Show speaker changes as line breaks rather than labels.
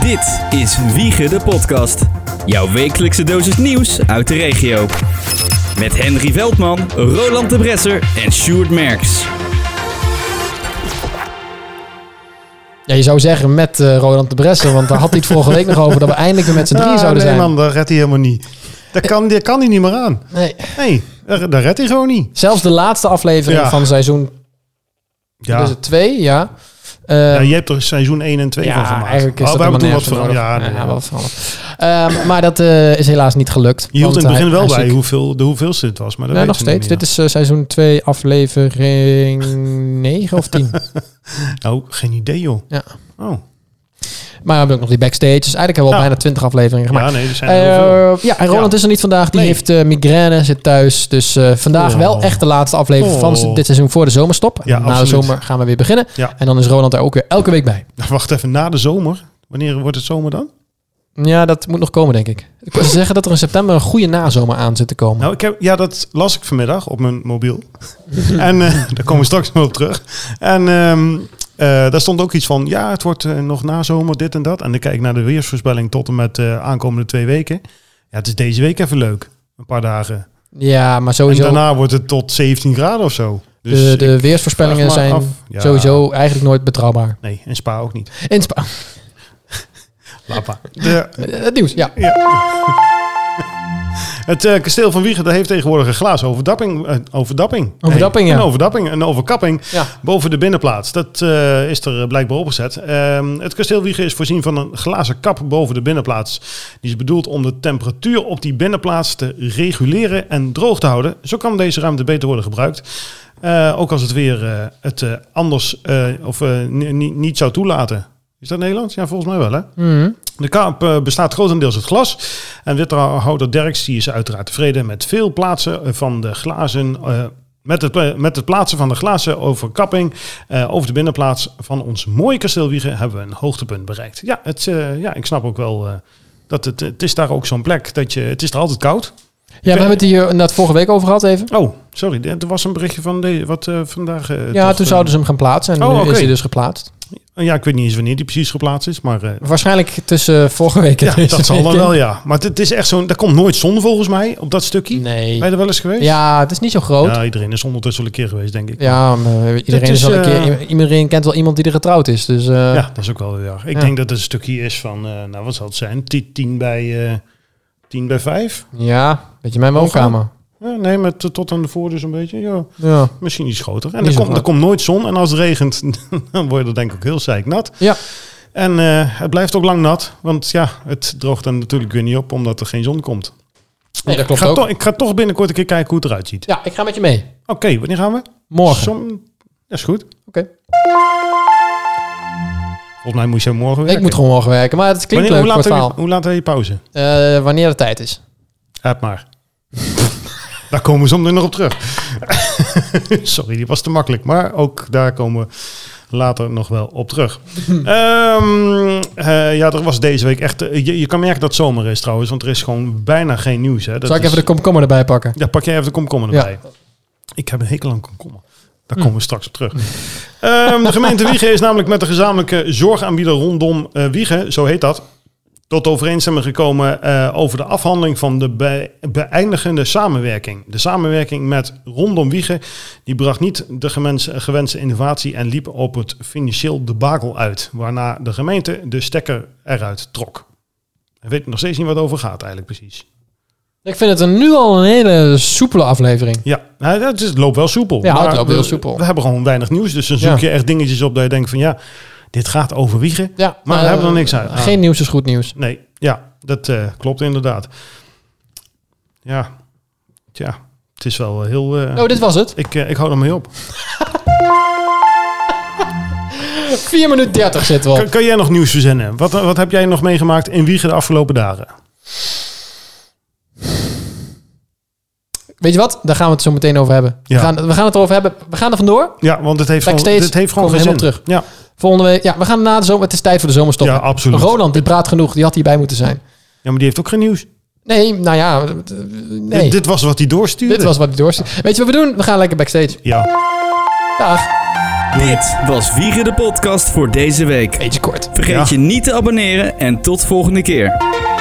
Dit is Wiegen de Podcast. Jouw wekelijkse dosis nieuws uit de regio. Met Henry Veldman, Roland de Bresser en Sjoerd Merks.
Ja, je zou zeggen met eh Roland de Bresser, want daar had hij het vorige week nog over dat we eindelijk weer met z'n drieën
Ah,
zouden
nee,
zijn.
man, dat redt hij helemaal niet. Dat kan, dat kan hij niet meer aan.
Nee.
Nee, dat dat redt hij gewoon niet.
Zelfs de laatste aflevering
Ja.
van seizoen
Ja.
dus het twee, ja. Eh,
Ja, je hebt er seizoen 1 en 2
ja,
van gemaakt.
eigenlijk is
Oh,
dat
we hebben toen
helemaal
wat
nergens voor nodig.
veranderd. Ja, nee,
Ja,
ja.
wat veranderd. Ehm, maar dat eh, is helaas niet gelukt.
Je hield
want
in het begin
hij-
wel
hij is
bij
ziek.
hoeveel, de hoeveelste het was, maar dat
Nee,
weet
nog
je niet
steeds.
meer.
Dit is eh, seizoen 2, aflevering 9 of 10.
Nou, geen idee, joh.
Ja.
Oh.
maar we hebben ook nog die backstage. Dus eigenlijk hebben we al
Ja.
bijna 20 afleveringen gemaakt.
Ja, nee, er zijn er heel veel.
Eh, ja, en Roland
Ja.
is er niet vandaag. Die
Nee.
heeft eh, migraine, zit thuis. Dus eh, vandaag
Oh.
wel echt de laatste aflevering van
Oh.
dit seizoen voor de zomerstop.
Ja,
Na de
absoluut.
zomer gaan we weer beginnen.
Ja.
En dan is Roland er ook weer elke week bij.
Wacht even, na de zomer. Wanneer wordt het zomer dan?
Ja, dat moet nog komen, denk ik. Ik wil zeggen dat er in september een goede nazomer aan zit te komen.
Nou, ik heb, ja, dat las ik vanmiddag op mijn mobiel. en eh, daar komen we straks nog op terug. En ehm, eh, daar stond ook iets van, ja, het wordt eh, nog na zomer dit en dat. En dan kijk ik naar de weersvoorspelling tot en met de aankomende twee weken. Ja, het is deze week even leuk. Een paar dagen.
ja, maar sowieso.
En daarna wordt het tot 17 graden of zo. Dus
de, de
ik vraag
weersvoorspellingen
me
zijn
af. Ja.
sowieso eigenlijk nooit betrouwbaar.
Nee, en Spa ook niet.
In Spa-
Lapa. De,
Eh, het nieuws, ja.
het eh, kasteel van Wiegen dat heeft tegenwoordig een glazen overdapping. eh, overdapping.
Overdapping, ja.
Een overdapping, een overkapping.
ja.
Boven de binnenplaats. Dat eh, is er eh, blijkbaar opgezet. Ehm, het kasteel Wiegen is voorzien van een glazen kap boven de binnenplaats. Die is bedoeld om de temperatuur op die binnenplaats te reguleren en droog te houden. Zo kan deze ruimte beter worden gebruikt. Eh, ook als het weer eh, het eh, anders eh, of eh, ni- ni- niet zou toelaten. Is dat Nederlands? Ja, volgens mij wel hè?
Mhm.
De kaap eh, bestaat grotendeels uit glas. En wethouder Derks die is uiteraard tevreden met veel plaatsen eh, van de glazen. eh, met het, pla- met het plaatsen van de glazen overkapping eh, over de binnenplaats van ons mooie kasteel Wiegen hebben we een hoogtepunt bereikt. Ja, het, eh, ja ik snap ook wel eh, dat het, het is daar ook zo'n plek dat je, het is er altijd koud.
Ja, we hebben het hier inderdaad vorige week over gehad even.
Oh, sorry, dit- er was een berichtje van de, wat eh, vandaag. eh,
Ja,
toch,
toen
eh,
zouden ze hem gaan plaatsen. En
Oh,
nu is
oké.
hij dus geplaatst.
ja, ik weet niet eens wanneer die precies geplaatst is, maar eh,
Waarschijnlijk tussen eh, vorige week en
ja,
deze
dat zal dan
week.
wel, ja. Maar het, het is echt zo'n, daar komt nooit zon volgens mij op dat stukje.
Nee.
Ben je er wel eens geweest?
Ja, het is niet zo groot. Ja,
Ja, iedereen is ondertussen wel een keer geweest, denk ik.
maar iedereen,
Dit
is,
is,
wel een
eh,
keer, iedereen kent wel iemand die er getrouwd is. Dus eh,
Ja, dat is ook wel weer waar. Ik
Ja.
denk dat het een stukje is van, eh, nou wat zal het zijn, 10 bij, eh 10 bij 5?
ja, weet je, mijn woonkamer.
Ja, nee, met eh, tot aan de voordeur zo'n beetje. Ja,
Ja.
misschien iets groter. En
Niet
er
zo
komt, er
groot.
komt nooit zon. En als het regent, dan word je er denk ik ook heel zeiknat.
Ja.
En eh, het blijft ook lang nat. Want ja, het droogt dan natuurlijk weer niet op, omdat er geen zon komt.
Nee, dat klopt
ik ga,
ook.
toch- ik ga toch binnenkort een keer kijken hoe het eruit ziet.
ja, ik ga met je mee.
Oké, wanneer gaan we?
Morgen.
Som- dat is goed.
Oké.
Volgens mij moet je morgen
Ik
werken.
moet gewoon morgen werken, maar het klinkt
Wanneer-
leuk
hoe,
voor
laat
het verhaal.
heb je, hoe laat heb je pauze?
Eh, wanneer de tijd is.
Heb maar. daar komen we zometeen nog op terug. Sorry, die was te makkelijk. Maar ook daar komen we later nog wel op terug. Ehm, eh, ja, er was deze week echt... eh, je, je kan merken dat het zomer is trouwens. Want er is gewoon bijna geen nieuws. Hè. Dat
Zal ik
is-
even de komkommer erbij pakken?
Ja, pak jij even de komkommer
Ja. Hm.
erbij. Ik heb een hekel aan komkommer. Daar komen we straks op terug. Ehm, de gemeente Wiegen is namelijk met de gezamenlijke zorgaanbieder rondom eh, Wiegen, zo heet dat, tot overeenstemming gekomen eh, over de afhandeling van de be- beëindigende samenwerking. De samenwerking met rondom Wiegen die bracht niet de gemens- gewenste innovatie en liep op het financieel debakel uit, waarna de gemeente de stekker eruit trok. Ik weet nog steeds niet wat het over gaat eigenlijk precies.
Ik vind het een, nu al een hele soepele aflevering.
Ja, nou, dat is, het loopt wel soepel.
Ja, het
Maar
loopt heel
we-
soepel.
We hebben gewoon weinig nieuws, dus dan zoek
Ja.
je echt dingetjes op dat je denkt van ja, dit gaat over Wiegen.
Ja,
Maar we
eh,
hebben er niks uit. Ah.
Geen nieuws is goed nieuws.
Nee, ja, dat eh, klopt inderdaad. Ja, tja, het is wel heel... eh,
Oh, dit was het.
ik, eh, ik hou er mee op.
4 minuten 30 zitten we op.
Kan, kan jij nog nieuws verzinnen? Wat, wat heb jij nog meegemaakt in Wiegen de afgelopen dagen?
Weet je wat? Daar gaan we het zo meteen over hebben.
Ja.
We, gaan, we gaan het erover hebben. We gaan er vandoor.
Ja, want het heeft
Backstage
gewoon, dit heeft gewoon geen
komen we
zin.
helemaal
Ja,
Volgende week. Ja, we gaan na de zomer. Het is tijd voor de zomerstop.
ja, absoluut.
Roland, die praat genoeg. Die had hierbij moeten zijn.
Ja, maar die heeft ook geen nieuws.
Nee, nou ja. eh, Nee.
Dit,
Dit,
dit was wat hij doorstuurde.
was wat ik doorstuurde. Weet je wat we doen? We gaan lekker backstage.
Ja.
Dag.
Dit was Wiegen de podcast voor deze week.
Beetje kort.
Vergeet
Ja.
je niet te abonneren en tot volgende keer.